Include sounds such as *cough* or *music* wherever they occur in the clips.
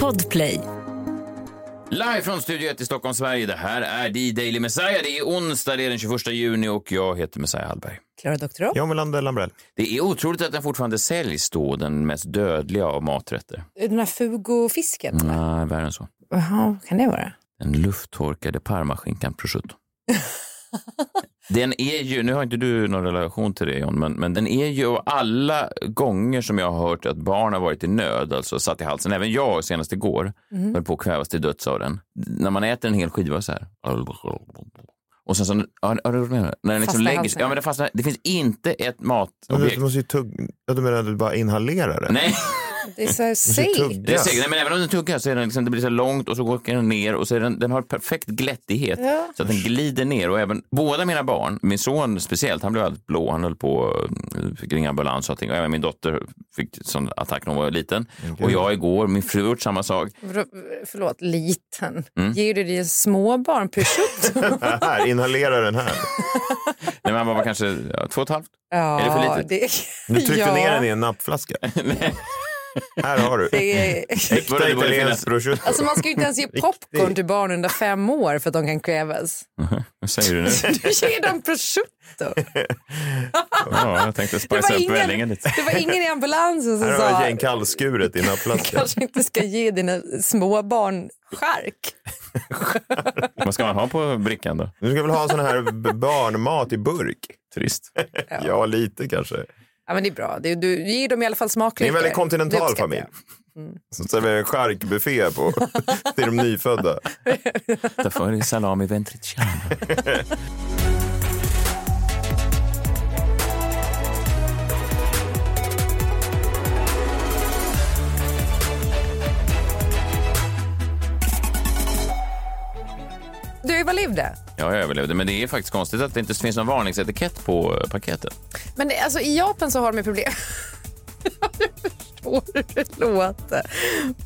Podplay. Live från Studio 1 i Stockholm, Sverige. Det här är The Daily Messiah. Det är onsdag, det är den 21 juni och jag heter Messiah Hallberg. Klara Doktorow. John Melander Lambrell. Det är otroligt att den fortfarande säljs då, den mest dödliga av maträtter. Den här fugofisken. Mm. Nej, värre än så. Jaha, vad kan det vara? Den lufttorkade parmaskinkan prosciutto. *laughs* den är ju, nu har inte du någon relation till det John, men, men den är ju av alla gånger som jag har hört att barn har varit i nöd, alltså satt i halsen, även jag senast igår, Mhm. höll på att kvävas till döds av den. När man äter en hel skiva så här. Och sen så, ja, ja, det- när den Fastnar liksom i lägger sig, halsen. ja men det fastnar, det finns inte ett Men du matobjekt. måste ju tugga, ja, du menar att du bara *laughs* inhalerar det? Nej. Det är så här Du måste ju segt. Det är tugga. säkert, nej, men även om den tuggar så är den liksom, det blir så här långt och så går den ner och så är den, den har perfekt glättighet Ja. så att den glider ner och även båda mina barn, min son speciellt, han blev alldeles blå, han höll på, eh, fick ringa ambulans och allting och även min dotter fick sån attack när hon var liten och jag igår, min fru har gjort samma sak. Förlåt, Förlåt, liten. Mm. Ger du dig små barn *laughs* prosciutto? här, inhalera den här. Nej, men han var kanske ja, två och ett halvt. ja, Är det för litet? Det, Du tryckte ja, ner *laughs* den i en nappflaska. här har du. Det *laughs* är, Borde Äkta det borde italiensk prosciutto. alltså man ska ju inte ens ge popcorn till barn under fem år för att de kan *laughs* kvävas. Vad säger du nu? Du ger dem prosciutto. *laughs* Ja, jag tänkte Det spicea var, upp vällingen ingen, lite. det var ingen i ambulansen som Här har sa jag kallskuret i *laughs* nappflaskan. kanske inte ska ge dina små barn skärk. Vad ska man ha på brickan då? Du ska väl ha sån här b- barnmat i burk? Trist. Ja, lite kanske. Ja, men det är bra. Du, du ger dem i alla fall Ni är smaklökar. en väldigt Det kontinental uppskattar familj. Som serverar en charkbuffé på till de nyfödda. Därför är det salami ventriciano. jag. Du överlevde. Ja, jag överlevde, men det är faktiskt konstigt att det inte finns någon varningsetikett på eh, paketet. Men det- alltså, i Japan så har de ju problem. *laughs* jag förstår hur det låter.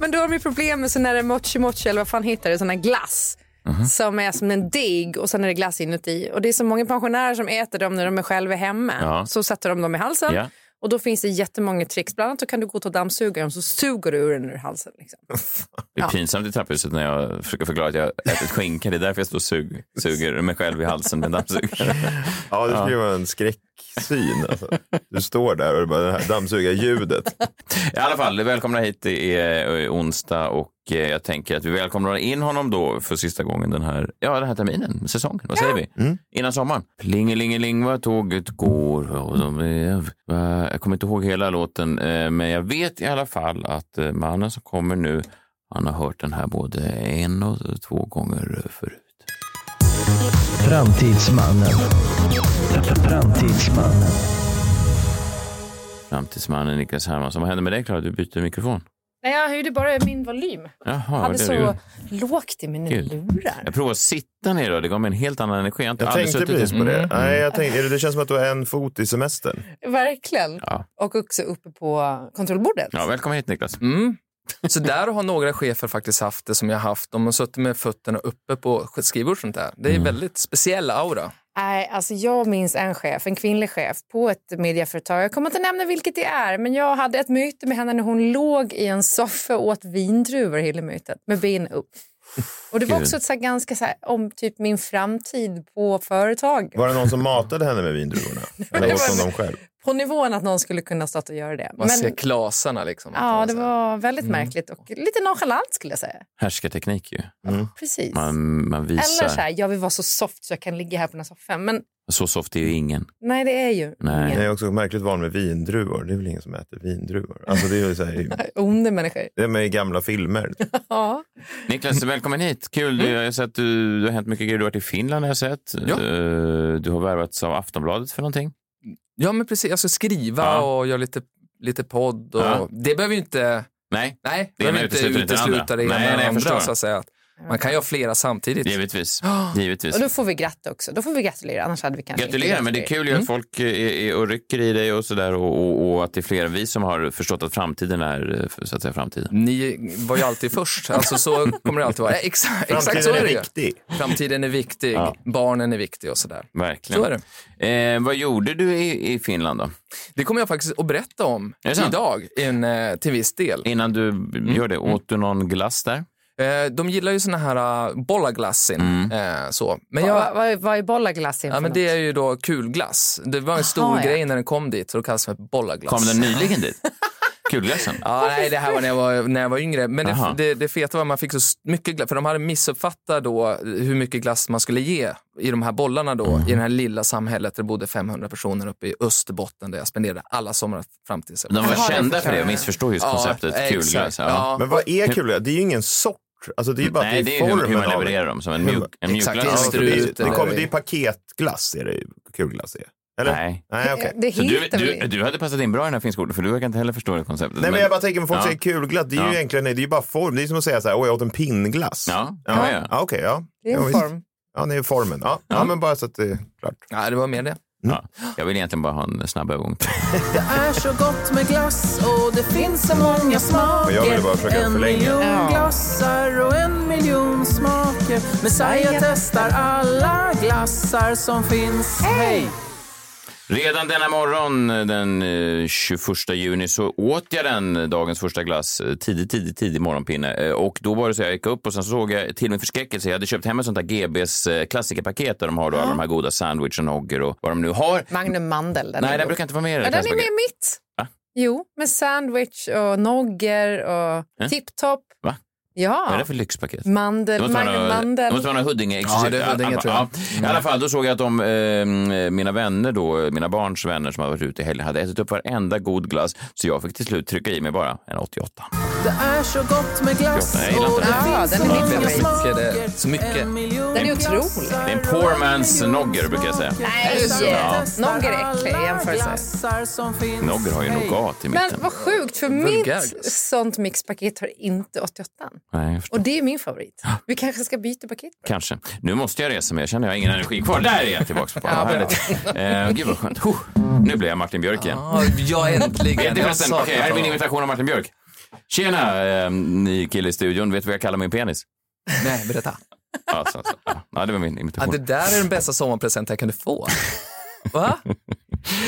Men då har de ju problem med sån här mochi mochi eller vad fan heter det, sån här glass. Mhm. Som är som en deg och sen är det glass inuti. Och det är så många pensionärer som äter dem när de är själva hemma. Ja. Så sätter de dem i halsen. Ja. Och då finns det jättemånga tricks. Bland annat så kan du gå till dammsugaren så suger du ur den ur halsen. Liksom. Det är pinsamt i trapphuset när jag försöker förklara att jag ätit skinka. Det är därför jag står och sug, suger mig själv i halsen med dammsugare. Ja, det skulle ju vara en skräcksyn. Alltså. Du står där och det bara det här dammsugarljudet. I alla fall, välkomna hit. Det är eh, onsdag och eh, jag tänker att vi välkomnar in honom då för sista gången den här, ja, den här terminen, säsongen. Vad säger vi? Innan sommaren. Plingelingeling vad tåget går. Och de är, va- jag kommer inte ihåg hela låten, eh, men jag vet i alla fall att eh, mannen som kommer nu, han har hört den här både en och två gånger eh, förut. Framtidsmannen. Framtidsmannen. Framtidsmannen Niklas Hermansson. Vad hände med dig Klara? Du byter mikrofon. Nej, jag höjde bara min volym. Jaha, Jag hade det så är det. lågt i mina Gud. lurar. Jag provar att sitta ner då. Det gav mig en helt annan energi. Jag, har inte Jag aldrig tänkte suttit i- precis på det. Mm. Nej, jag tänkte, det känns som att du har en fot i semestern. Verkligen. Ja. Och också uppe på kontrollbordet. Ja, välkommen hit Niklas. Mm. Så där har några chefer faktiskt haft det som jag haft. De har suttit med fötterna uppe på skrivbord och sånt där. Det är Mm. väldigt speciell aura. Nej, alltså jag minns en chef, en kvinnlig chef på ett medieföretag. Jag kommer inte nämna vilket det är, men jag hade ett möte med henne när hon låg i en soffa och åt vindruvor hela mötet med ben upp. Och det var Gud. också ett så här ganska så här, om typ min framtid på företag. Var det någon som matade henne *laughs* med vindruvorna? Eller åt hon dem själv? På nivån att någon skulle kunna starta och göra det. Man ser klasarna liksom. ja, alltså. det var väldigt Mm. märkligt och lite nonchalant skulle jag säga. Härskarteknik ju. Precis. Man, man visar. Eller så här, jag vill vara så soft så jag kan ligga här på den här soffan. Men Så soft är ju ingen. nej, det är ju Nej. Jag ingen är också märkligt van med vindruvor. Det är väl ingen som äter vindruvor? Alltså det är ju så här, onda människor. *laughs* det är med i gamla filmer. Ja. Niklas, välkommen hit. Kul. Mm. Du, jag har sett, du, det har hänt mycket grejer. Du har varit i Finland har jag sett. Ja. Eh, Du har värvats av Aftonbladet för någonting. Ja, men precis. Alltså skriva Ja. och göra lite, lite podd. Och... Ja. Det behöver ju inte... Nej. Nej, Det det ena behöver inte utesluter inte det utesluta andra. det ena Nej, nej, jag eller andra. förstår. Så att säga. Man kan ju ha flera *gasps* samtidigt. Givetvis. Givetvis. Och då får vi gratta också. Då får vi gratulera, annars hade vi kanske inte Gratulerar, men det är gratulerat. kul ju att folk är, är och rycker i dig och sådär och, och, och att det är fler än vi som har förstått att framtiden är eh, så att säga framtiden. Ni var ju alltid först. Alltså så kommer det *laughs* alltid vara. Ja, Exakt, exakt så är det ju. viktig. Framtiden är viktig. Barnen är viktiga och sådär. Verkligen. Så är Eh, vad gjorde du i, i Finland då? Det kommer jag faktiskt att berätta om Är det sant? idag i en, eh, till viss del. Innan du Mm, gör det, åt du någon glass där? Eh, De gillar ju såna här uh, bollaglassin. Mm. eh, Så. Men Va- jag, va- Vad är bollaglass Eh, Ja, men det är ju då kulglass. Det var en stor Aha, ja. grej när den kom dit, så det kallas för bollaglass. Kom den nyligen dit? *laughs* Kulglassen? Ja, nej, det här var när jag var, när jag var yngre. Men det, Aha. det, det feta var att man fick så s- mycket glass. För de hade missuppfattat då eh, hur mycket glass man skulle ge i de här bollarna då. Mm. I det här lilla samhället där det bodde 500 personer uppe i Österbotten där jag spenderade alla somrar fram till sen. De var Jaha, det kända för det förklarar. och missförstod just konceptet kulglass. Ja. Men vad är kul? Det är ju ingen sort. Alltså det är ju bara Nej, att det är formen hur, hur man av levererar dem. Som en Hur- mjuk, en Exakt, mjukglass. det är Ja, en Ja, det, är, struten det, kommer, eller- det är paketglass är det ju, kulglass är. Eller? Nej. Nej, okej. Det Så du, heter du, vi. du hade passat in bra i den här finska ordet, för du verkar inte heller förstå det konceptet. Nej men jag bara tänker, men folk Ja. säger kulglass, det är ju Ja. egentligen, det är ju bara form. Det är som att säga så här, åh jag åt en pinnglass. Ja, ja. ja, ja. ja Ah, okej, ja. Det är ja, en visst. form. Ja, det är formen. Ja. Ja. men bara så att det är klart. Ja, det var mer det. Ja. Jag vill egentligen bara ha en snabb övergång. *laughs* Det är så gott med glass och det finns så många smaker. Men jag ville bara försöka en förlänga. miljon Ja. glassar och en miljon smaker. Messiah testar alla glassar som finns. Hej! Redan denna morgon den eh, 21 juni så åt jag den, eh, dagens första glass, eh, tidig, tidig, tidig morgonpinne. Eh, Och då var det så jag gick upp och sen såg jag till min förskräckelse, jag hade köpt hem ett sånt där GBs eh, klassikerpaket där de har då alla de här goda sandwichen, hoggor och vad de nu har. Magnum mandel. Den Nej, är den god. brukar inte vara med i det Ja, den är med klassikerpaketet. i mitt. Va? Jo, med sandwich och nogger och Eh? tipptopp. Va? Vad är Ja, det för lyxpaket? mandel, Det måste vara Magnum några- det mandel. måste vara några huddinge Ja, det är Huddinge, tror jag. I alla fall, då såg jag att de, eh, mina vänner då, mina barns vänner som hade varit ute i helgen hade ätit upp varenda god glass. Så jag fick till slut trycka i mig bara en 88. Det är så gott med glass Jag gillar inte och det den. Ja, finns den så är min många favorit. smaker. Det- så mycket. En miljon Den är otrolig. glassar Det är en poor och en man's miljon nogger, brukar jag säga. smaker. Nej, Messiah ja. testar nogger är äcklig i alla jämförelse. glassar som finns. Nogger har ju Hej. nougat i mitten. Men vad sjukt, för Vulgär mitt glass. sånt mixpaket har inte 88. Nej, jag förstår. Och det är min favorit. Vi kanske ska byta paket. Kanske. Nu måste jag resa mig. Jag känner jag har ingen energi kvar. Där är jag tillbaka på. Ja, härligt. Eh, gud vad skönt. Huh. Nu blir jag Martin Björk igen. Ja, ja Vet äntligen. ni Jag förresten? saknar Okej, här är min honom. imitation av Martin Björk. Tjena, eh, ni kille i studion. Vet du vad jag kallar min penis? Nej, berätta. Ja, så, så. Ja. ja, det var min Ja, imitation. det där är den bästa sommarpresent jag kunde få. *laughs* Va?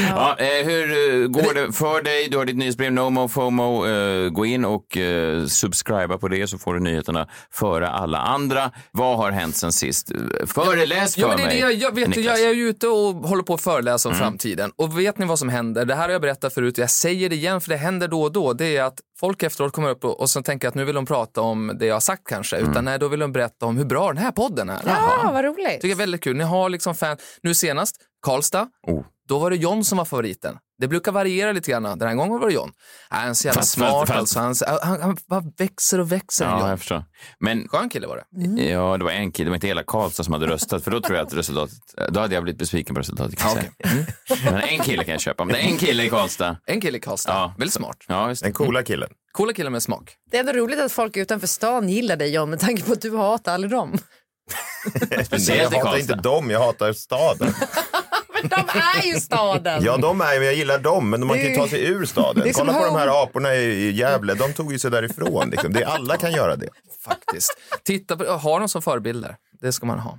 Ja, eh, hur eh, går det för dig? Du har ditt nyhetsbrev No Mo FOMO. Eh, gå in och eh, subscriba på det så får du nyheterna före alla andra. Vad har hänt sen sist? Eh, Föreläs för Ja, men det är det mig, jag, jag, vet, du, Niklas. Mm. jag är ju ute och håller på att föreläsa om framtiden. Och vet ni vad som händer? Det här har jag berättat förut, jag säger det igen för det händer då och då. Det är att folk efteråt kommer upp och, och så tänker jag att nu vill de prata om det jag har sagt kanske. Mm. Utan nej, då vill de berätta om hur bra den här podden är. Ja, Ah, vad roligt. Tycker jag är väldigt kul. Ni har liksom fan. Nu senast, Karlstad. Oh. Då var det John som var favoriten. Det brukar variera lite grann. Den här gången var det John. Äh, han är så jävla Fast- smart fast- fast- alltså. Han, han, han bara växer och växer. Ja, John. jag förstår. Men Skön kille var det. Mm. ja, det var en kille, det var inte hela Karlstad som hade röstat, för då tror jag att resultatet, då hade jag blivit besviken på resultatet. Kan jag Ja, säga. Mm. Men en kille kan jag köpa, men det är en kille i Karlstad. En kille i Karlstad. Ja. Väldigt smart. Ja, visst. Den coola killen. Coola killar med smak. Det är ändå roligt att folk utanför stan gillar dig, John, med tanke på att du hatar aldrig dem. Nej, jag Speciellt i hatar inte Karlstad. dem, jag hatar staden. Men de är ju staden! Ja, de är men jag gillar dem, men man Det är kan ju ju- ta sig ur Det staden. är som Kolla på de Home. här aporna i i Gävle, de tog ju sig därifrån. Liksom. Det, alla kan göra det. faktiskt. Titta på, ha dem som förebilder. Det ska man ha.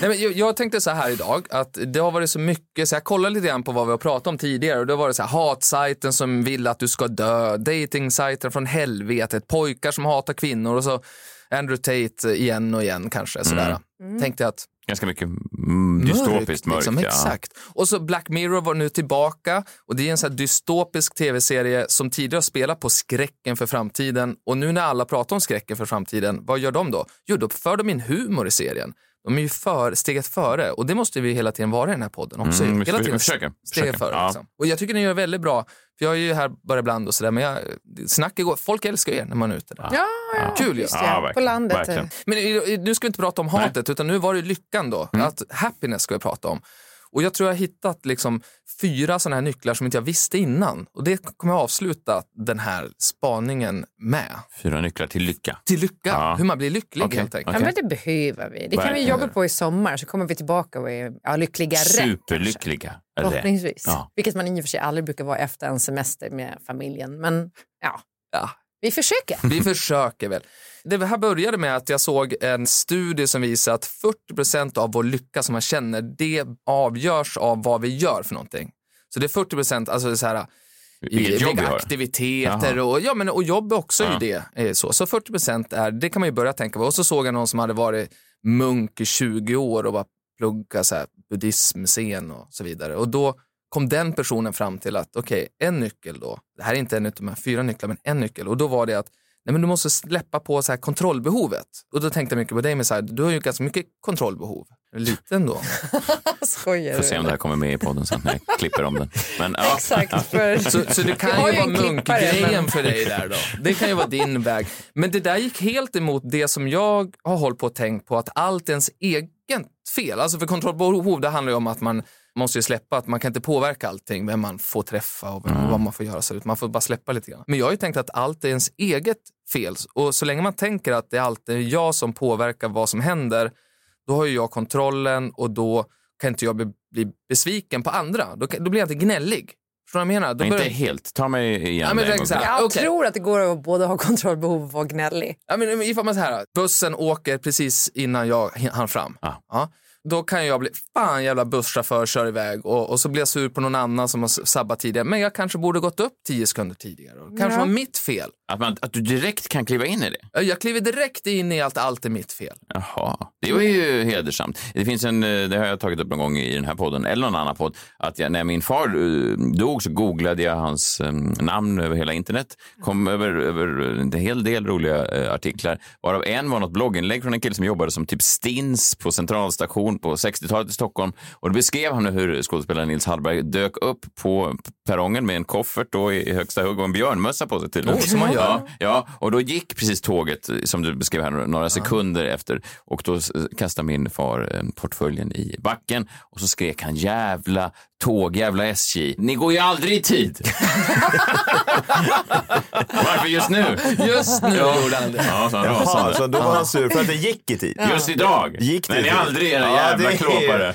Nej, men jag, jag tänkte så här idag, att det har varit så mycket, så jag kollade lite grann på vad vi har pratat om tidigare och då var det så här hatsajten som vill att du ska dö, datingsajten från helvetet, pojkar som hatar kvinnor och så Andrew Tate igen och igen kanske. Sådär. Tänkte jag att Ganska mycket mm, dystopiskt mörkt. liksom, ja. Exakt. Och så Black Mirror var nu tillbaka och det är en sån här dystopisk tv-serie som tidigare har spelat på skräcken för framtiden och nu när alla pratar om skräcken för framtiden, vad gör de då? Jo, då för de in humor i serien. De är ju för, steget före och det måste vi hela tiden vara i den här podden också. Mm, vi hela ska- tiden vi försöker, steget försöker. före. Ja. Liksom. Och jag tycker ni gör väldigt bra, för jag är ju här bara ibland och sådär, men jag, snack igår, folk älskar er när man är ute där. Ja, ja. Kul ju. Just det, Ja, på verkligen. landet. eh. Verkligen. Mm. Men i- i- nu ska vi inte prata om hatet, utan nu var det lyckan då. Att happiness ska vi prata om. Och jag tror jag har hittat liksom fyra sådana här nycklar som inte jag visste innan. Och det kommer jag avsluta den här spaningen med. Fyra nycklar till lycka. Till lycka, Ja. hur man blir lycklig Okej. helt enkelt. Okej. Ja, men det behöver vi. Det kan vi Verkligen. jobba på i sommar så kommer vi tillbaka och är ja, lyckligare. Superlyckliga. Eller? Förhoppningsvis. Ja. Vilket man i och för sig aldrig brukar vara efter en semester med familjen. Men ja, Ja. vi försöker. *laughs* *laughs* Vi försöker väl. Det här började med att jag såg en studie som visar att 40 av vår lycka som man känner, det avgörs av vad vi gör för någonting. Så det är 40 alltså det är så här, Vilket jobb vi har. aktiviteter och, ja, men, och jobb också är ju det. eh, Så, så 40 är, det kan man ju börja tänka på. Och så såg jag någon som hade varit munk i 20 år och bara plugga så här buddhismscen och så vidare. Och då kom den personen fram till att okej, en nyckel då, det här är inte en av de här fyra nycklarna, men en nyckel. Och då var det att nej, men du måste släppa på så här kontrollbehovet. Och då tänkte jag mycket på dig, men så här, du har ju ganska mycket kontrollbehov. Liten då. Skojar Får se om det här kommer med i podden sen när *laughs* jag klipper om den. Men, ja. Exakt. För... Så, så det Vi kan har ju ju vara en klippare, munkgrejen men- för dig där då. Det kan ju vara din väg. Men det där gick helt emot det som jag har hållit på och tänkt på, att allt är ens eget fel. Alltså för kontrollbehov, det handlar ju om att man måste ju släppa, att man kan inte påverka allting, vem man får träffa och Mm. vem, vad man får göra. Så ut. Man får bara släppa lite grann. Men jag har ju tänkt att allt är ens eget fel. Och så länge man tänker att det alltid är jag som påverkar vad som händer, då har ju jag kontrollen och då kan inte jag bli, bli besviken på andra. Då, kan- då blir jag inte gnällig. Förstår du vad jag menar? Då Men inte börjar- helt. Ta mig igen. Ja, men en gång exakt. till. Jag Okej. tror att det går att både ha kontrollbehov och vara gnällig. Ja, men ifall man så här, bussen åker precis innan jag hann fram. Ja. då kan jag bli, fan jävla busschaufför kör iväg och, och så blir jag sur på någon annan som har s- sabbat tidigare. Men jag kanske borde gått upp tio sekunder tidigare. Och det kanske var mitt fel. Att, man, att du direkt kan kliva in i det. Ja, Jag kliver direkt in i att allt är mitt fel. Jaha, det var ju hedersamt. Det finns en, eh, det har jag tagit upp någon gång i den här podden, eller någon annan podd, att jag, när min far eh, dog så googlade jag hans eh, namn över hela internet. Kom över, över en hel del roliga eh, artiklar, varav en var något blogginlägg från en kille som jobbade som typ stins på centralstation på 60-talet i Stockholm. Och då beskrev han hur skådespelaren Nils Hallberg dök upp på perrongen med en koffert då i i högsta hugg och en björnmössa på sig tydligen. Åh, som man gör. Ja, Ja, och då gick precis tåget, eh, som du beskrev här, några sekunder efter. Och då s- kastade min far eh, portföljen i backen och så skrek han jävla tåg, jävla SJ. Ni går ju aldrig i tid! Varför just nu? Just nu gjorde han det. Ja, så han Jaha, rasande. så då var han sur för att det gick i tid. Just idag! Gick det Men i ni är tid? aldrig era Ja, jävla det är- klåpare.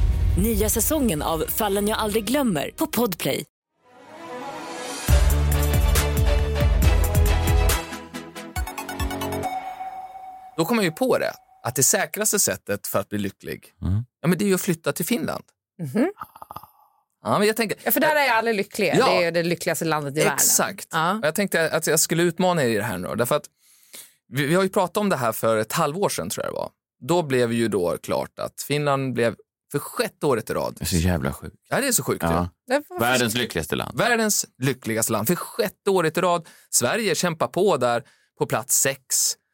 Nya säsongen av Fallen jag aldrig glömmer på Podplay. Då kom jag ju på det, att det säkraste sättet för att bli lycklig, ja, men det är ju att flytta till Finland. Ja, men jag tänker, Ja, för där är alla lyckliga. Ja. Det är ju det lyckligaste landet i världen. Exakt. Ja. Och Jag tänkte att jag skulle utmana er i det här nu. Därför att vi, vi har ju pratat om det här för ett halvår sedan tror jag det var. Då blev ju då klart att Finland blev för sjätte året i rad. Det är så jävla sjukt. Ja, det är så sjukt Ja. ju. Det var- Världens lyckligaste land. Världens lyckligaste land. För sjätte året i rad. Sverige kämpar på där på plats sex.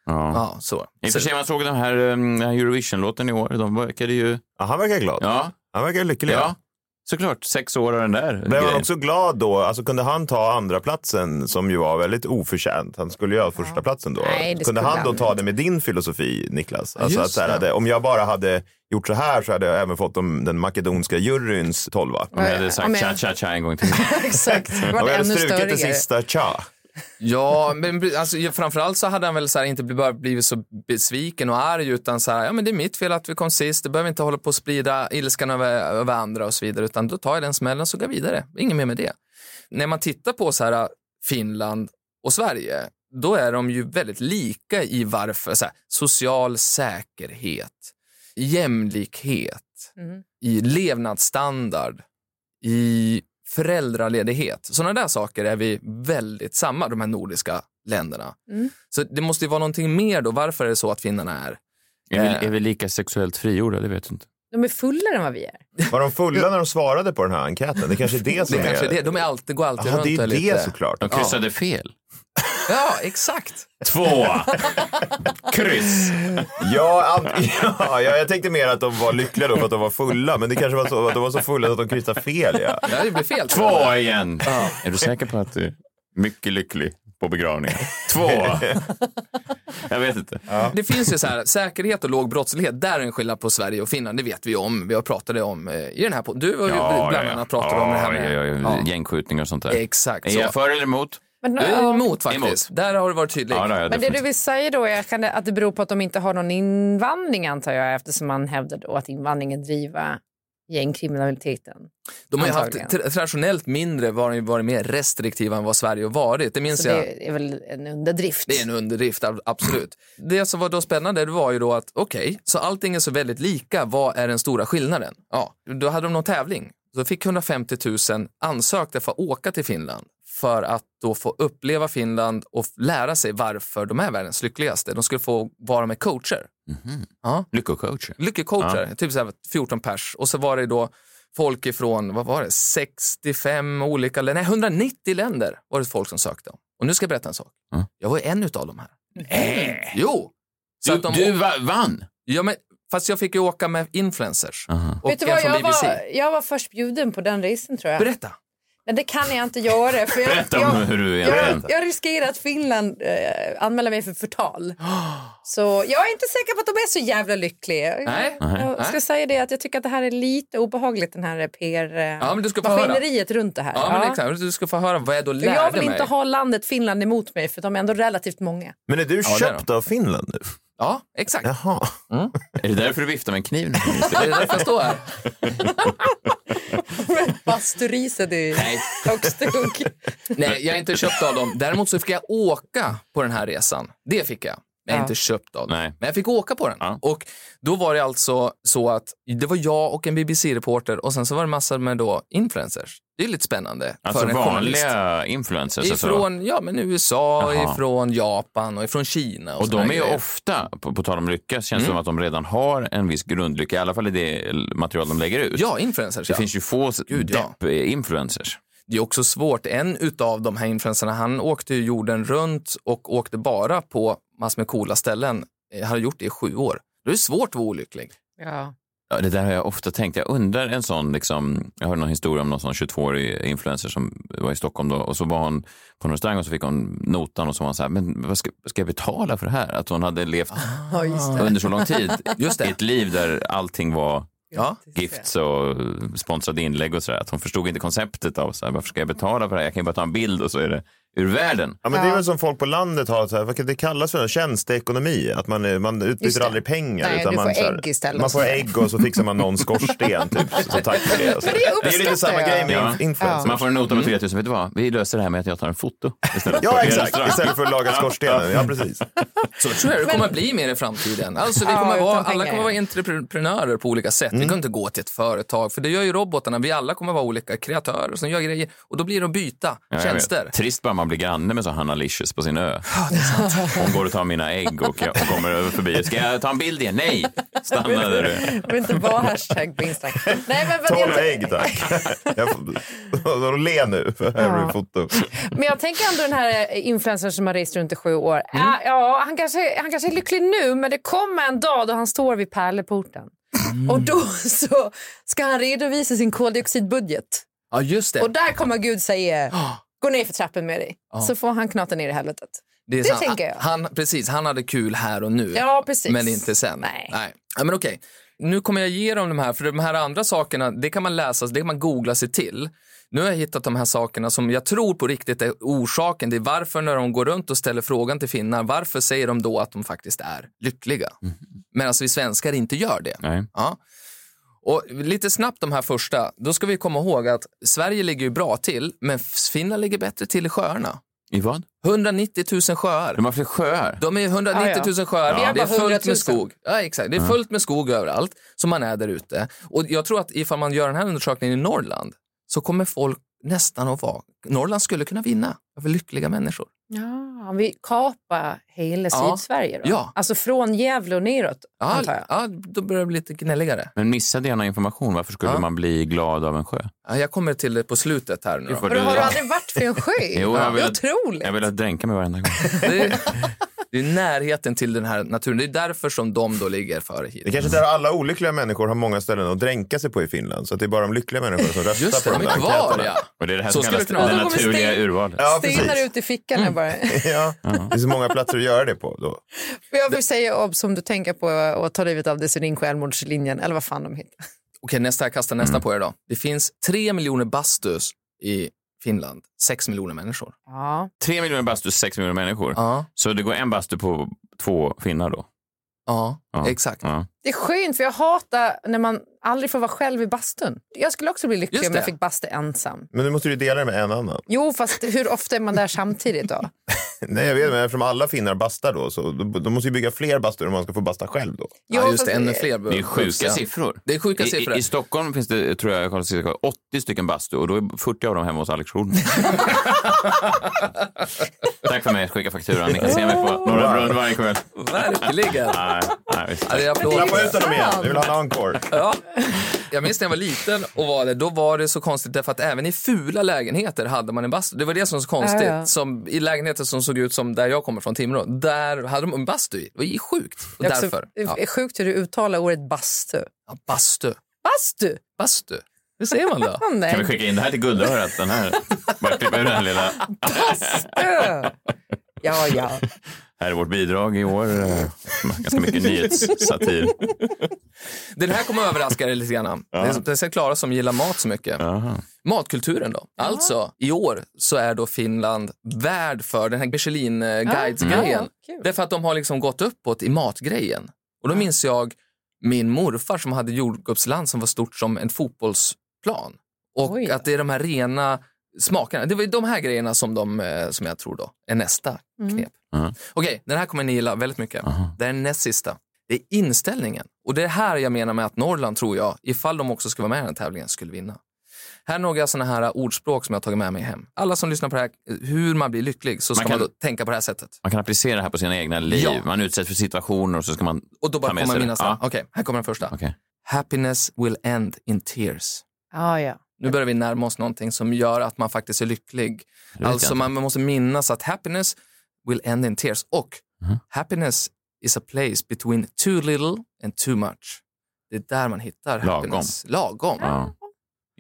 Ja. Ja, så. I och så för sig, man såg den här, eh, den här Eurovision-låten i år. De verkade ju... Ja, han verkar glad. Ja, Han verkar lycklig. ja. såklart. Sex år av den där Blev han grejen. också glad då? Alltså kunde han ta andra platsen som ju var väldigt oförtjänt? Han skulle ju ha första platsen då. Nej, det kunde skulle han då han ta det med din filosofi, Niklas? Alltså Just att så här, det. hade, om jag bara hade gjort så här så hade jag även fått de, den makedonska juryns tolva. Om jag hade Om sagt jag- cha-cha-cha en *laughs* gång till. *laughs* Exakt. Det Om var jag hade ännu strukit större. det sista tja. Ja, men alltså, ja, framförallt så hade han väl så här, inte bli- bara blivit så besviken och arg utan så här, ja men det är mitt fel att vi kom sist, det behöver inte hålla på och sprida ilskan över, över andra och så vidare, utan då tar jag den smällen och så går jag vidare. Inget mer med det. När man tittar på så här, äh, Finland och Sverige, då är de ju väldigt lika i varför, så här, social säkerhet, jämlikhet, Mm. i levnadsstandard, i föräldraledighet. Sådana där saker är vi väldigt samma, de här nordiska länderna. Mm. Så det måste ju vara någonting mer då. Varför är det så att finnarna är Är vi, är vi lika sexuellt frigjorda? Det vet jag inte. De är fullare än vad vi är. Var de fulla när de svarade på den här enkäten? Det kanske är det som Det kanske är det. De är alltid, går alltid Jaha, runt det och är lite- det såklart. De kryssade fel. Ja, exakt. *laughs* Två. Kryss. Ja, an- *laughs* ja, ja, jag tänkte mer att de var lyckliga då för att de var fulla. Men det kanske var så att de var så fulla att de kryssade fel. Ja. Ja, det blir fel. Två igen. Är du säker på att du är mycket lycklig på begravningen? *laughs* Två. Jag vet inte. Det finns ju så här, säkerhet och låg brottslighet, där är en skillnad på Sverige och Finland, det vet vi ju om. Vi har pratat det om eh, i den här podden. Du har ju bland annat pratat om det här med... ja, ja, Gängskjutningar och sånt där. Exakt Är så. jag för eller emot? Men, Du är emot faktiskt. Emot. Där har du varit tydlig. Ja, det är jag men det du definitivt. vill säga då är kan det- att det beror på att de inte har någon invandring antar jag eftersom man hävdar då att invandringen driver gängkriminaliteten. De har ju haft, Antagligen. tra- traditionellt mindre varit, varit mer restriktiva än vad Sverige har varit. Det minns Så jag. det är väl en underdrift. Alltså, Det är en underdrift, ab- absolut. Det som var då spännande det var ju då att okej, så allting är så väldigt lika, vad är den stora skillnaden? Ja, då hade de någon tävling. Då fick 150 000 ansökte för att åka till Finland för att då få uppleva Finland och f- lära sig varför de är världens lyckligaste. De skulle få vara med coacher. Lyckocoacher. lyckocoacher, typ så här 14 pers. Och så var det då folk ifrån, vad var det, 65 olika länder, nej 190 länder var det folk som sökte. om. Och nu ska jag berätta en sak. Mm. Jag var ju en utav de här. Nej. Jo! Så Du, att de, du va- vann. Ja, men, fast jag fick ju åka med influencers. Aha. Och Vet du en vad, från jag, BBC. var, jag var först bjuden på den resan tror jag. Berätta! Men det kan jag inte göra. För jag, Berätta om jag, hur du jag, egentligen... jag riskerar att Finland eh, anmäler mig för förtal. Så jag är inte säker på att de är så jävla lyckliga. Nej. Jag ska Nej. säga det att jag tycker att det här är lite obehagligt den här Ja, men du ska få höra. PR-maskineriet runt det här. Ja, men exakt. Du ska få höra vad jag då För jag lärde vill mig. inte ha landet Finland emot mig för de är ändå relativt många. Men är du det är de. köpt av Finland nu? Ja, exakt. Jaha. Är det därför du viftar med en *laughs* kniv nu? Det är därför jag står här. Basturiset i Högstog. Nej, jag är inte köpt av dem. Däremot så fick jag åka på den här resan. Det fick jag. Jag är Ja. inte köpt av dem. Nej. Men jag fick åka på den. Ja. Och då var det alltså så att det var jag och en BBC-reporter och sen så var det massor med då influencers. Det är lite spännande Alltså för en journalist. vanliga influencers. Alltså. Ifrån ja, men USA, Jaha. ifrån Japan och ifrån Kina. Och, Och såna de är här ju grejer. ofta, på, på tal om lycka, känns det Mm. som att de redan har en viss grundlycka, i alla fall i det material de lägger ut. Ja, influencers. Det ja. finns ju få s- eh, Gud, ja. depp-influencers. Det är också svårt. En utav de här influencerna, han åkte ju jorden runt och åkte bara på massor med coola ställen. Eh, Han har gjort det i sju år. Då är det svårt att vara olycklig. Ja. Ja, det där har jag ofta tänkt. Jag undrar en sån, liksom, jag hörde någon historia om någon sån 22-årig influencer som var i Stockholm då och så var hon på en restaurang och så fick hon notan och så var hon så här, men vad ska, ska jag betala för det här? Att hon hade levt Ah. Ja, just det. under så lång tid *laughs* Just det. i ett liv där allting var Ja. gifts och sponsrade inlägg och sådär. Att hon förstod inte konceptet av så här, varför ska jag betala för det här? Jag kan ju bara ta en bild och så är det ur världen. Ja, men Det är väl som folk på landet har, så här, vad kan det kallas för? Tjänsteekonomi. Att man, eh, man Just utbyter det. aldrig pengar. Nej, utan du man, får så här, ägg istället. Man får ägg och så fixar man någon skorsten. Typ, så, så tack för det. Alltså. Men det det är ju lite uppskattar samma jag. grej med Ja. inf- influencers. Man får en Mm. nota på 3000, vet du vad? Vi löser det här med att jag tar en foto *laughs* istället. Ja, På er exakt. restaurang. Istället för att laga skorstenen. Ja, precis. Så tror jag det kommer att bli mer i framtiden. Alltså, vi Ja, kommer att vara, utan alla pengar, kommer att vara entreprenörer på olika sätt. Mm. Vi kommer inte gå till ett företag, för det gör ju robotarna. Vi alla kommer att vara olika kreatörer som gör grejer. Och då blir det att byta Ja, jag vet. tjänster. Trist bara man blir granne med så Hanna Licious på sin ö. *laughs* Hon går och tar mina ägg och jag, hon kommer över förbi. Ska jag ta en bild igen? Nej! Stanna där du är. Jag vill inte vara hashtag på Instagram. Nej, men, vad Tolv jag, ägg tack. Jag får, *laughs* le nu. För här blir det foto. men jag tänker ändå den här influencern som har rest runt i sju Mm. år. Ah, ja, han, kanske, han kanske är lycklig nu men det kommer en dag då han står vid pärleporten. Mm. Och då så ska han redovisa sin koldioxidbudget. Ja, just det. Och där kommer Gud *gasps* säga gå ner för trappen med dig. Så får han knata ner i helvetet. är det sant. tänker jag. Han, precis, han hade kul här och nu. Ja, precis. Men inte sen. Nej. Ja, men okej. Nu kommer jag ge dem de här, för de här andra sakerna, det kan man läsa, det kan man googla sig till. Nu har jag hittat de här sakerna som jag tror på riktigt är orsaken. Det är varför när de går runt och ställer frågan till finnar, varför säger de då att de faktiskt är lyckliga? Medan vi svenskar inte gör det. Nej. Ja. Och lite snabbt de här första, då ska vi komma ihåg att Sverige ligger ju bra till, men Finland ligger bättre till i sjöarna. I vad? 190 000 sjöar. De har fler sjöar. De är 190 000 sjöar, Ah, Vi har det är bara 100 fullt 000. med skog. Ja, exakt. Det är fullt med skog överallt som man är där ute. Och jag tror att ifall man gör den här undersökningen i Norrland så kommer folk nästan att vara... Norrland skulle kunna vinna över lyckliga människor. Ja, vi kapar hela Ja. Sydsverige då? Ja. Alltså från Gävle och neråt, Ja, antar jag. ja, då börjar det bli lite gnälligare. Men missade jag någon information? Varför skulle Ja. man bli glad av en sjö? Ja, jag kommer till det på slutet här nu. får Då. Men har du- du aldrig varit *laughs* vid en sjö? Jo, jag det är vill- otroligt. Jag vill att dränka mig varenda gång. Det, är, det är närheten till den här naturen. Det är därför som de då ligger före hit. Det kanske inte är alla olyckliga människor har många ställen att dränka sig på i Finland. Så att det är bara de lyckliga människorna som röstar Just det, på de de är där kvar enkäterna. ja. Och det är det här Så som skulle kallas det det kunna vara. naturliga Då urvalet. Ja, Stenar precis. ut i fickan Mm. här bara. *laughs* Ja. Det är så många platser att göra det på. Då. Jag vill säga obs om du tänker på att ta livet av dig så ring självmordslinjen eller vad fan de heter. Okej, nästa, jag kastar nästa på er då. Det finns tre miljoner bastus i Finland. sex miljoner människor. Ja. Tre miljoner bastu, sex miljoner människor. Ja, Så det går en bastu på två finnar då? ja, Ja. exakt. Ja. Det är skönt för jag hatar när man aldrig får vara själv i bastun. Jag skulle också bli Just lycklig om det. jag fick basta ensam. Men nu måste du ju dela det med en annan. Jo, fast hur ofta är man där samtidigt då? Nej, jag vet, men eftersom alla finnar bastar då, så de, de måste ju bygga fler bastur om man ska få basta själv då. Jo, *laughs* ja, just fast- det, ännu fler. Det är sjuka Ja. siffror. Det är sjuka siffror. I, i, I Stockholm finns det, tror jag, jag kollar cirka 80 stycken bastu och då är 40 av dem hemma hos Alex *laughs* Schulman. Tack för mig, skicka fakturan. Ni kan se mig på Norra Brunn varje kväll. Verkligen. Nej, nej, visst. Ja, det är applåder. Klappa ut honom igen, vi vill ha en encore. Ja. Jag minns när jag var liten och var det, då var det så konstigt därför att även i fula lägenheter hade man en bastu. Det var det som var så konstigt. Ja, ja. Som, I lägenheter som såg ut som där jag kommer från, Timrå, där hade de en bastu i. Det var ju sjukt. Och Det är också därför. Ja. sjukt hur du uttalar ordet bastu. Ja, bastu. Bastu! Bastu. Hur säger man då? Fan, nej. Kan vi skicka in det här till Guldörat? Den här. Bara klippa ur den här lilla. Bastu! Ja, ja. Här är vårt bidrag i *laughs* år. Ganska mycket nyhetssatir. Den här kommer överraska dig lite grann. Det är- Det är så Klara som gillar mat så mycket. Jaha. Matkulturen då. Alltså, i år så är då Finland värd för den här eh, Michelin-guides-grejen. Ja, kul. Därför att de har liksom gått uppåt i matgrejen. Och då minns jag min morfar som hade jordgubbsland som var stort som en fotbollsplan. Och Oj. att det är de här rena smakerna. Det var ju de här grejerna som, de, eh, som jag tror då är nästa Mm. knep. Mhm. Okej, den här kommer ni gilla väldigt mycket. Aha. Det är den näst sista. Det är inställningen. Och det är här jag menar med att Norrland, tror jag, ifall de också skulle vara med i den här tävlingen, skulle vinna. Här är några sådana här ordspråk som jag har tagit med mig hem. Alla som lyssnar på det här, eh, hur man blir lycklig, så ska man, Man kan- då tänka på det här sättet. Man kan applicera det här på sina egna liv. Ja. Man utsätts för situationer och så ska man... Och då Ta bara med kommer sig mina det. sen. Okej, här kommer den första. Okej. Happiness will end in tears. ja, ja. Nu börjar vi närma oss någonting som gör att man faktiskt är lycklig. Det vet jag Alltså inte. man måste minnas att happiness will end in tears. Och Mhm. happiness is a place between too little and too much. Det är där man hittar Lagom. happiness. Lagom. Ja.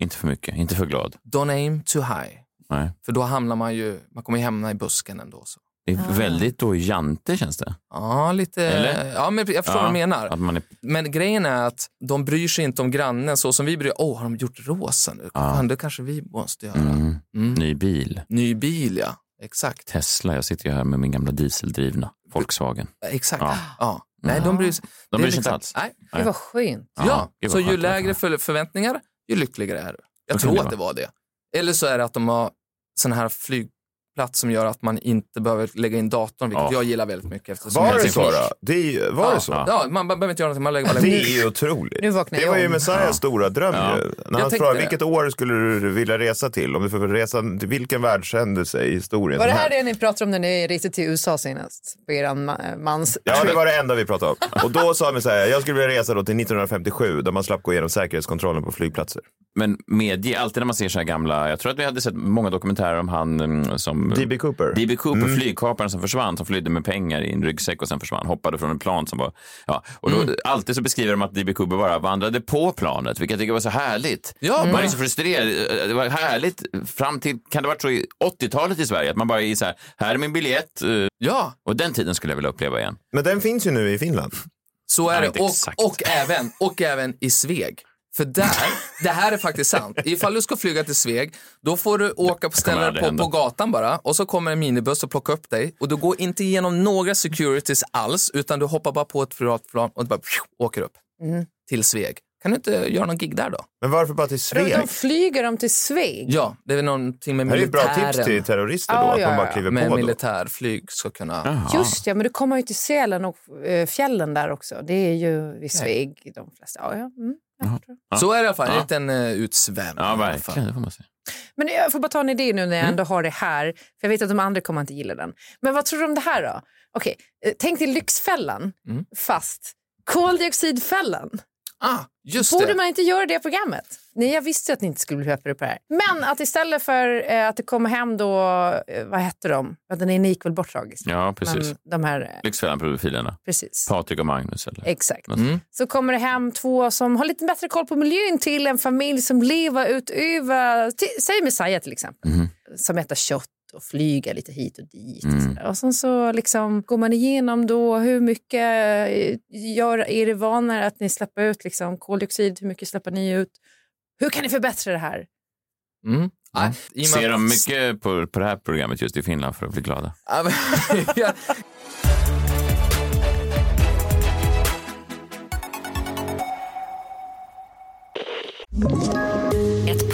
Inte för mycket, inte för glad. Don't aim too high. Nej. För då hamnar man ju, man kommer ju hamna i busken ändå. Så. Det är väldigt då jante känns det. Ja, lite... Eller? Ja, men jag förstår Ja. vad du menar. Att man är... Men grejen är att de bryr sig inte om grannen så som vi bryr Åh, har de gjort rosa nu? Fan, det kanske vi måste göra. mm. Mm. Ny bil. Ny bil, ja. Exakt. Tesla, jag sitter ju här med min gamla dieseldrivna Volkswagen. Exakt. Ja. Ja. Nej, de bryr sig, det är liksom- bryr sig inte alls. Nej. Det var skönt. Ja, gud vad så skönt ju det var. lägre för, förväntningar, ju lyckligare är du. Jag Så kan tror det att det var det. Eller så är det att de har sån här flygplats som gör att man inte behöver lägga in datorn, vilket Ja. jag gillar väldigt mycket. eftersom Var jag- det så då? Det är, ju- var Ja, det så? Ja, man behöver inte göra någonting. Man lägger bara Det lägger är ju otroligt. Nu vaknar det jag var ju om. Messiahs Ja. stora dröm Ja. ju. När Jag han tänkte frågar, det. vilket år skulle du vilja resa till? Om du får resa till vilken världshändelse i historien? Var det som här helst? det ni pratade om när ni reste till USA senast? På er ma- mans... Ja, det var det enda vi pratade om. Och då sa Messiah, jag skulle vilja resa då till 1957 där man slapp gå igenom säkerhetskontrollen på flygplatser. Men medge, alltid när man ser så här gamla, jag tror att vi hade sett många dokumentärer om han mm, som... D.B. Cooper. D.B. Cooper, Mm. flygkaparen som försvann, som flydde med pengar i en ryggsäck och sen försvann, hoppade från en plan som var... Ja, och då, Mm. Alltid så beskriver de att D.B. Cooper bara vandrade på planet, vilket jag tycker var så härligt. Ja, Mm. man bara- är så frustrerad. Det var härligt fram till, kan det ha varit så i 80-talet i Sverige, att man bara är så här, här är min biljett. eh, Ja, Och den tiden skulle jag vilja uppleva igen. Men den finns ju nu i Finland. Så Nej, är det. inte exakt. Och, och, även, och även i Sveg. För där, det här är faktiskt sant. Ifall du ska flyga till Sveg, då får du åka på ställa aldrig dig på, hända. på gatan bara och så kommer en minibuss och plockar upp dig och du går inte igenom några securities alls utan du hoppar bara på ett privatplan och bara pju, åker upp till Sveg. Kan du inte göra någon gig där då? Men varför bara till Sveg? De flyger dem till Sveg. Ja, det är väl någonting med Det här är ju ett bra tips till militären. terrorister då, Ja, att ja, man bara ja. kliver Med på då. militärflyg ska kunna... Just ja, men du kommer ju till Sälen och eh, fjällen där också. Det är ju vid Sveg de flesta. Ja, ja. Mm. Så är det i alla fall. En Ja. liten uh, utsvävning. Ja, i alla fall. verkligen. Det får man säga. Men jag får bara ta en idé nu när Mm. jag ändå har det här. För jag vet att de andra kommer inte gilla den. Men vad tror du om det här då? Okej, eh, tänk dig Lyxfällan, Mm. fast koldioxidfällan. Ah, just Borde det. man inte göra det programmet? Nej, jag visste ju att ni inte skulle bli peppade på det här. Men att istället för eh, att det kommer hem då, eh, vad hette de? Ja, den ena gick väl bort tragiskt. Ja, precis. Men de här, eh, Lyxfällan-profilerna. precis. Patrik och Magnus. Eller? Exakt. Mm. Så kommer det hem två som har lite bättre koll på miljön till en familj som lever utöver, till, säg Messiah till exempel, som äter kött och flyger lite hit och dit. Och, sådär. och sen så liksom går man igenom då hur mycket eh, gör er vanor att ni släpper ut liksom, koldioxid, hur mycket släpper ni ut? Hur kan ni förbättra det här? Mm. Nej, i och med Ser att- de mycket på, på det här programmet just i Finland för att bli glada? Ja, men- *laughs* ja. Ett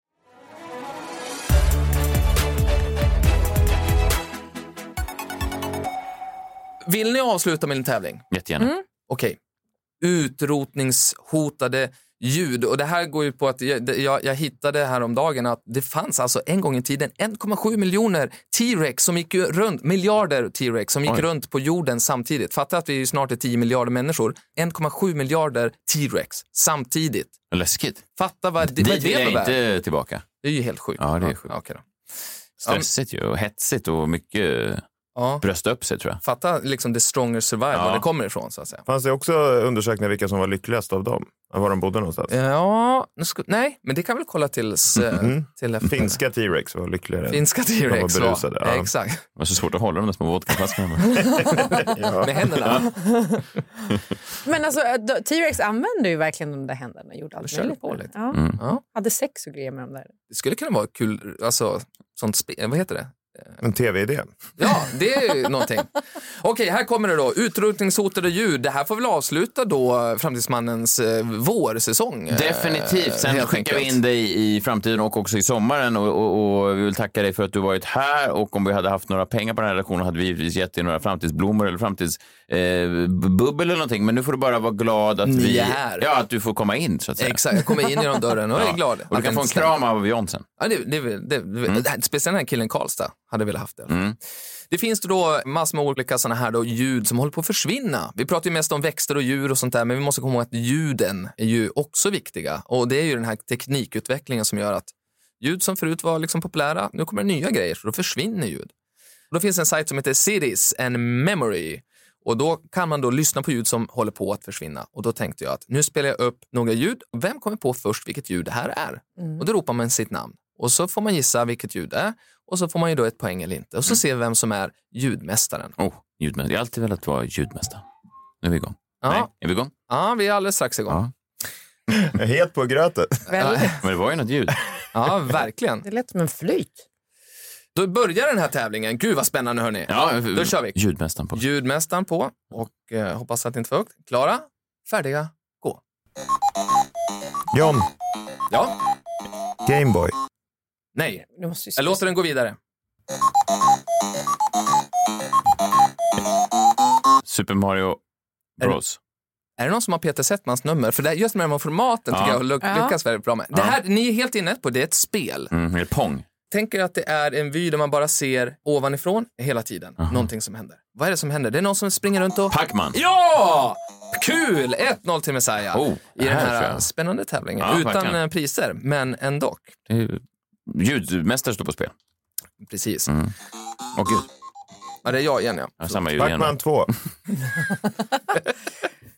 Vill ni avsluta med en tävling? Jättegärna. Mm. Okej. Utrotningshotade ljud. Och det här går ju på att jag, det- jag, jag hittade häromdagen att det fanns alltså en gång i tiden 1,7 miljoner T-rex som gick ju runt, miljarder T-rex som gick Oj. runt på jorden samtidigt. Fatta att vi ju snart är 10 miljarder människor. 1,7 miljarder T-rex samtidigt. Läskigt. Fatta vad det, vad Dit det vill jag innebär. inte tillbaka. Det är ju helt sjukt. Ja, det är sjukt. okej då. Stressigt ju och hetsigt och mycket Ja. brösta upp sig tror jag. Fatta liksom the stronger survive, Ja. var det kommer ifrån så att säga. Fanns det också undersökningar vilka som var lyckligast av dem? Var de bodde någonstans? Eh, Ja, nu ska, nej, men det kan vi kolla tills, eh, till efter. Mhm. Finska T-Rex var lyckligare. än- Finska T-Rex, De var berusade, ja. ja. Exakt, Det var så svårt att hålla de där små *laughs* vodkaflaskorna. *laughs* Eh, Ja. med händerna. Men alltså, eh, då- T-Rex använde ju verkligen de där händerna och gjorde allt körde möjligt. på med dem. lite. Ja. Mm. Ja. Hade sex och grejer med de där. Det skulle kunna vara kul, alltså, sånt spe, vad heter det? En tv-idé. Ja, det är ju någonting. Okej, här kommer det då. Utrotningshotade djur. Det här får väl avsluta då Framtidsmannens eh, vårsäsong. eh, Definitivt. Sen helt skickar vi enkelt. in dig i framtiden och också i sommaren. Och, och, och vi vill tacka dig för att du varit här. Och om vi hade haft några pengar på den här redaktionen hade vi givetvis gett dig några framtidsblommor eller framtidsbubbel eh, bubbel eller någonting. Men nu får du bara vara glad att, Ni vi, är här. Ja, att du får komma in så att säga. Exakt, jag kommer in genom dörren och jag är glad. Och du kan att den få en stänger. kram av Beyoncé. Ja, det, det, det, det, det, här- speciellt den här killen Karlstad hade velat haft det. Det finns då massor med olika sådana här då ljud som håller på att försvinna. Vi pratar ju mest om växter och djur och sånt där, men vi måste komma ihåg att ljuden är ju också viktiga. Och det är ju den här teknikutvecklingen som gör att ljud som förut var liksom populära, nu kommer det nya grejer, så då försvinner ljud. Och då finns en sajt som heter Cities and Memory. Och då kan man då lyssna på ljud som håller på att försvinna. Och då tänkte jag att nu spelar jag upp några ljud. Vem kommer på först vilket ljud det här är? Och då ropar man sitt namn. Och så får man gissa vilket ljud det är. Och så får man ju då ett poäng eller inte. Och Mm. så ser vi vem som är ljudmästaren. Oh, ljudmästare. Jag har alltid velat vara ljudmästare. Nu är vi igång. Nej, Ja, är vi igång? ja vi är alldeles strax igång. Ja. Jag är Het på gröten. Väl, Men det var ju något *laughs* ljud. Ja, verkligen. det lät som en flyt. Då börjar den här tävlingen. Gud vad spännande hörni. Ja, Då kör vi. Ljudmästaren på. Ljudmästaren på. Och eh, hoppas att det inte var högt. Klara, färdiga, gå. John, Ja, Gameboy. nej. Du måste ju Jag låter den gå vidare. Super Mario Bros. Är det någon som har Peter Settmans nummer? För det, här- just med de här formaten tycker Ja. jag lyck- Ja. lyckas väldigt bra med. Det här, ni är helt inne på, det är ett spel. Mm, eller Pong. Tänk er att det är en vy där man bara ser ovanifrån hela tiden. Någonting som händer. Vad är det som händer? Det är någon som springer runt och... Pac-Man. Ja! Kul! 1-0 till Messiah. Oh, I den här här tror jag. spännande tävlingen. Ja, Utan verkligen. eh, priser, men ändå. Det är ju- Ljudmästare står på spel. Precis. Mm. Åh gud, Ja, det är jag igen ja. jag har samma ljud igen. Pac-Man 2.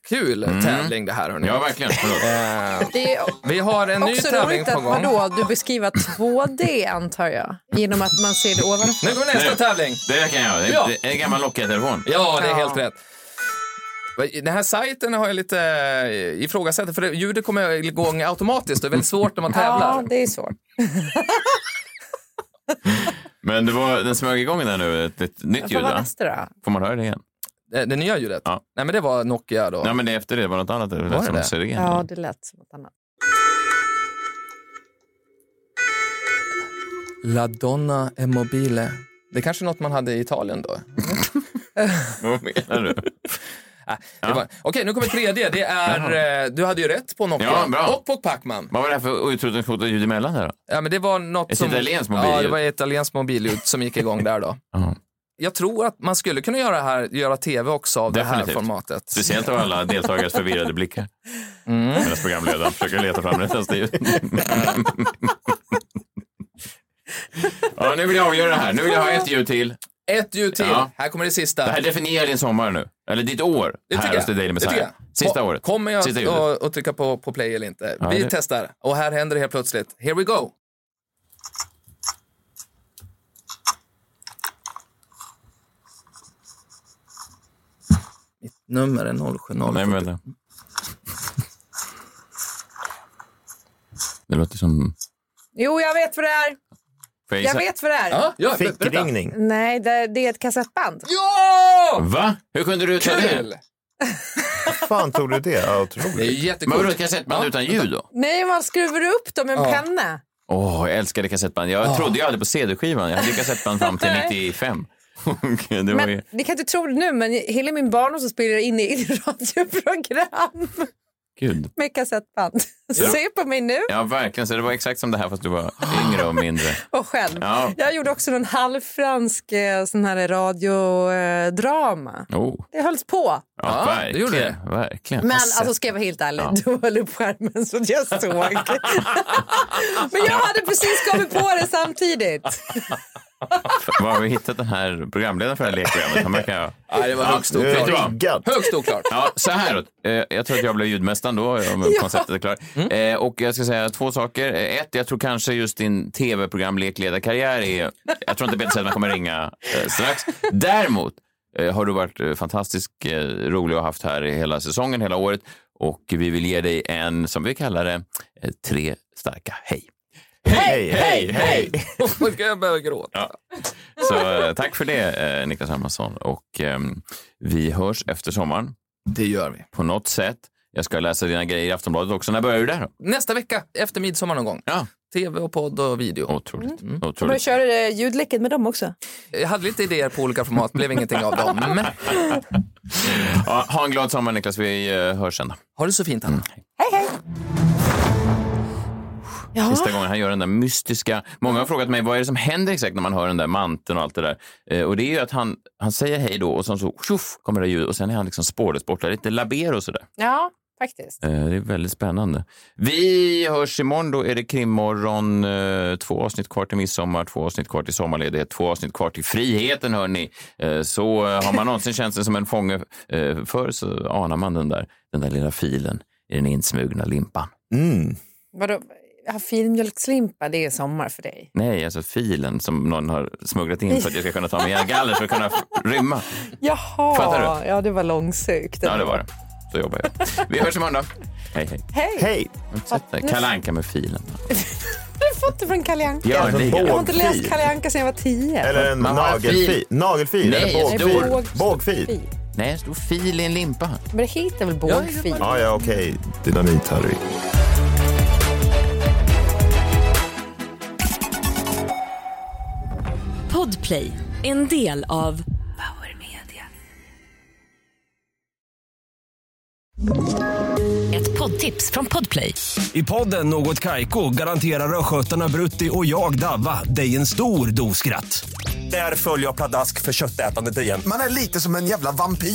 Kul tävling det här hörni. Mm. Ja, verkligen. Förlåt. Eh, Det är vi har en ny också tävling roligt på att gång. vadå, du beskriver 2D antar jag, genom att man ser det *laughs* ovanför. Nu går nästa Nu. tävling. Det kan jag. Det är- Ja. Det är en gammal Nokia-telefon. Ja, det är Ja. helt rätt. Den här sajten har jag lite eh, ifrågasatt, för det- ljudet kommer igång automatiskt. Det är väldigt svårt när man tävlar. Ja, det är svårt. Men det var, den smög igång där nu, ett, ett nytt ljud Vad var va? nästa då? Får man höra det igen? Eh, Det nya ljudet? Ja. Nej, men det var Nokia då. Nej men det är efter det var något annat. Det Var lät det som det? en siren. Ja, det lät som något annat. La Donna e Mobile. Det är kanske är något man hade i Italien då. Vad menar du? Äh, det var... Okej, nu kommer tredje. Det är, eh, du hade ju rätt på Nokia Ja, bra. och på Pacman. Vad var det här för utrotningshotat ljud emellan där då? Ja, men det var något Ett som... italienskt Ja, det mobilljud. var ett italienskt mobilljud som gick igång där då. Ja. Jag tror att man skulle kunna göra, det här, göra tv också av det här Definitivt. formatet. Speciellt av alla deltagares förvirrade blickar. Mm. Medan programledaren försöker leta fram rättaste ljud. ja, nu vill jag avgöra det här. Nu vill jag ha ett ljud till. Ett ljud till. Ja. Här kommer det sista. Det här definierar din sommar nu. Eller ditt år Det tycker här hos The jag. Daily Det Messiah. tycker jag. Sista Ko- året. Kommer jag Sista ljudet. att, att trycka på, på play eller inte? Ja, Vi det- testar. Och här händer det helt plötsligt. Here we go. Mitt nummer är 070. Nej, men vänta. Det låter som... Jo, jag vet vad det är. Får Jag vet vad det är. Ja, ja, ber- berätta. Fickringning. Nej, det, det är ett kassettband. Ja! Va? Hur kunde du ta Kul! det? fan tog du det? Ja, Det är ju otroligt. Men vadå, jättekul. ett kassettband utan ljud då? Nej, man skruvar upp dem med en Ja. penna. Åh, jag älskade kassettband. Jag trodde jag hade på CD-skivan. Jag hade ju kassettband fram *laughs* till 95. *laughs* Och det var ju... Men, ni kan inte tro det nu, men hela min barndom så spelade jag in i *laughs* radioprogram Gud. med kassettband. Se på mig nu Ja, verkligen. Så det var exakt som det här fast du var yngre och mindre. och själv. Ja. Jag gjorde också en halvfransk eh, sån här radiodrama. Oh. Det hölls på. Ja, Ja, det verkligen. gjorde verkligen. Men alltså ska jag vara helt ärlig, *laughs* du höll upp skärmen så att jag såg. Men jag hade precis kommit på det samtidigt. Var har vi hittat den här programledaren för det här *laughs* lekprogrammet? Han verkar... Ja, det var högst Du vet oklart. du är vad? riggad. Högst oklart. *laughs* *laughs* Ja, så här då. Eh, Jag tror att jag blev ljudmästaren då, om *laughs* Ja. konceptet är klart. Mm. Eh, Och jag ska säga två saker. Eh, Ett, jag tror kanske just din tv-program lekledarkarriär är... Jag tror inte Peter Settman kommer ringa eh, strax. Däremot eh, har du varit eh, fantastiskt eh, rolig och haft här i hela säsongen, hela året. Och vi vill ge dig en, som vi kallar det, eh, tre starka hej. Hej, hej, hej! Varför ska jag börja gråta? Så eh, tack för det, eh, Niklas Hermansson. Och ehm, vi hörs efter sommaren Det gör vi. på något sätt. Jag ska läsa dina grejer i Aftonbladet också. När börjar du där då? Nästa vecka, efter midsommar någon gång. Ja. Tv och podd och video. Otroligt. Men Otroligt. körde det ljudläcket med dem också? Jag hade lite idéer på olika format, blev ingenting av dem. Men Ja, ha en glad sommar, Niklas. Vi eh, hörs sen. Då. ha det så fint, Anna. Sista gången han gör den där mystiska... Många har frågat mig vad är det som händer exakt när man hör den där manteln och allt det där. Eh, och det är ju att han, han säger hej då och sen så tjoff, kommer det där ljudet och sen är han liksom spårlöst borta. Lite labero och sådär. Ja, faktiskt. Eh, det är väldigt spännande. Vi hörs imorgon. Då är det krimmorgon. Eh, två avsnitt kvar till midsommar, två avsnitt kvar till sommarledighet, två avsnitt kvar till friheten, hörni. Eh, så eh, har man någonsin känt sig som en fånge eh, förr så anar man den där, den där lilla filen i den insmugna limpan. Mm. Vadå? Ja, filmjölkslimpa, det är sommar för dig. Nej, alltså filen som någon har smugglat in för att jag ska kunna ta med mina galler för att kunna f- rymma. Jaha, Fattar ja det var långsökt. Ja, det var det. Så jobbar jag. Vi hörs imorgon då. Hej, hej. Hej! Hej! Sätt dig. Kalle Anka med filen. Du får inte från Kalle Anka. Gör det. Jag har inte läst Alltså, Bågfil. Kalle Anka sedan jag var tio. Eller en Man har en nagelfil. fil. Nagelfil Nej, eller en bågfil. båg- Bågfil. Nej, en stor fil i en limpa. Men det heter väl bågfil? Ja, ja, okej. Dynamit-Harry. Podplay, en del av Power Media. Ett poddtips från Podplay. I podden Något Kaiko garanterar östgötarna Brutti och jag, Davva, dig en stor dos skratt. Där följer jag pladask för köttätandet igen. Man är lite som en jävla vampyr.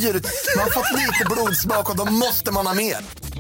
Man har fått lite blodsmak och då måste man ha mer.